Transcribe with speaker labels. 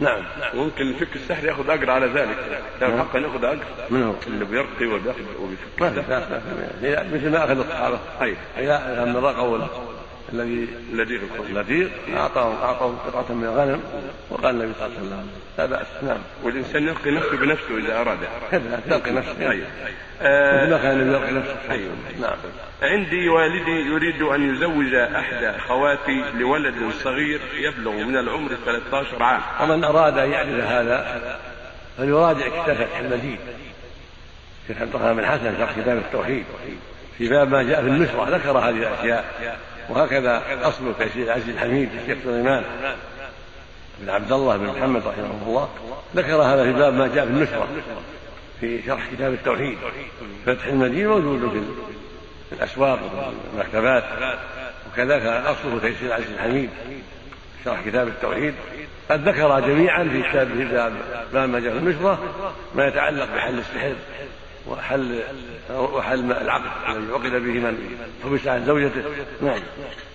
Speaker 1: نعم
Speaker 2: ممكن الفك السحري ياخذ اجر على ذلك لو حقا ياخذ اجر
Speaker 1: من هو؟
Speaker 2: اللي بيرقي وبياخذ وبيفك
Speaker 1: ما في لا- لا- لا. إذا- مثل ما طيب. اخذ الصحابه
Speaker 2: أي.
Speaker 1: اذا لما رقوا له الذي
Speaker 2: اللديق الخطيب
Speaker 1: لديق اعطاهم اعطاهم قطعه من الغنم وقال النبي صلى الله عليه وسلم لا باس نعم
Speaker 2: والانسان يرقي نفسه بنفسه اذا اراد
Speaker 1: كذا تلقي نفسك
Speaker 2: أيوة.
Speaker 1: مثل ما
Speaker 2: آه
Speaker 1: كان النبي يلقي نفسه
Speaker 2: أيوة.
Speaker 1: نعم
Speaker 2: عندي والدي يريد أن يزوج أحد خواتي لولد صغير يبلغ من العمر 13 عام
Speaker 1: ومن اراد ان يعرف هذا فليراجع كتاب فتح المجيد شيخ عبد الرحمن بن حسن شرح كتاب التوحيد في باب ما جاء في النشرة ذكر هذه الأشياء وهكذا أصل تأشير العزيز الحميد الشيخ سليمان بن عبد الله بن محمد رحمه الله ذكر هذا في باب ما جاء في النشرة في شرح كتاب التوحيد فتح المجيد موجود في في الأسواق وفي المكتبات وكذلك أصله تيسير العزيز الحميد شرح كتاب التوحيد قد ذكر جميعا في كتاب في باب باب ما جاء في النشرة ما يتعلق بحل السحر وحل وحل ما- العقد الذي عقد به من حبس عن زوجته نعم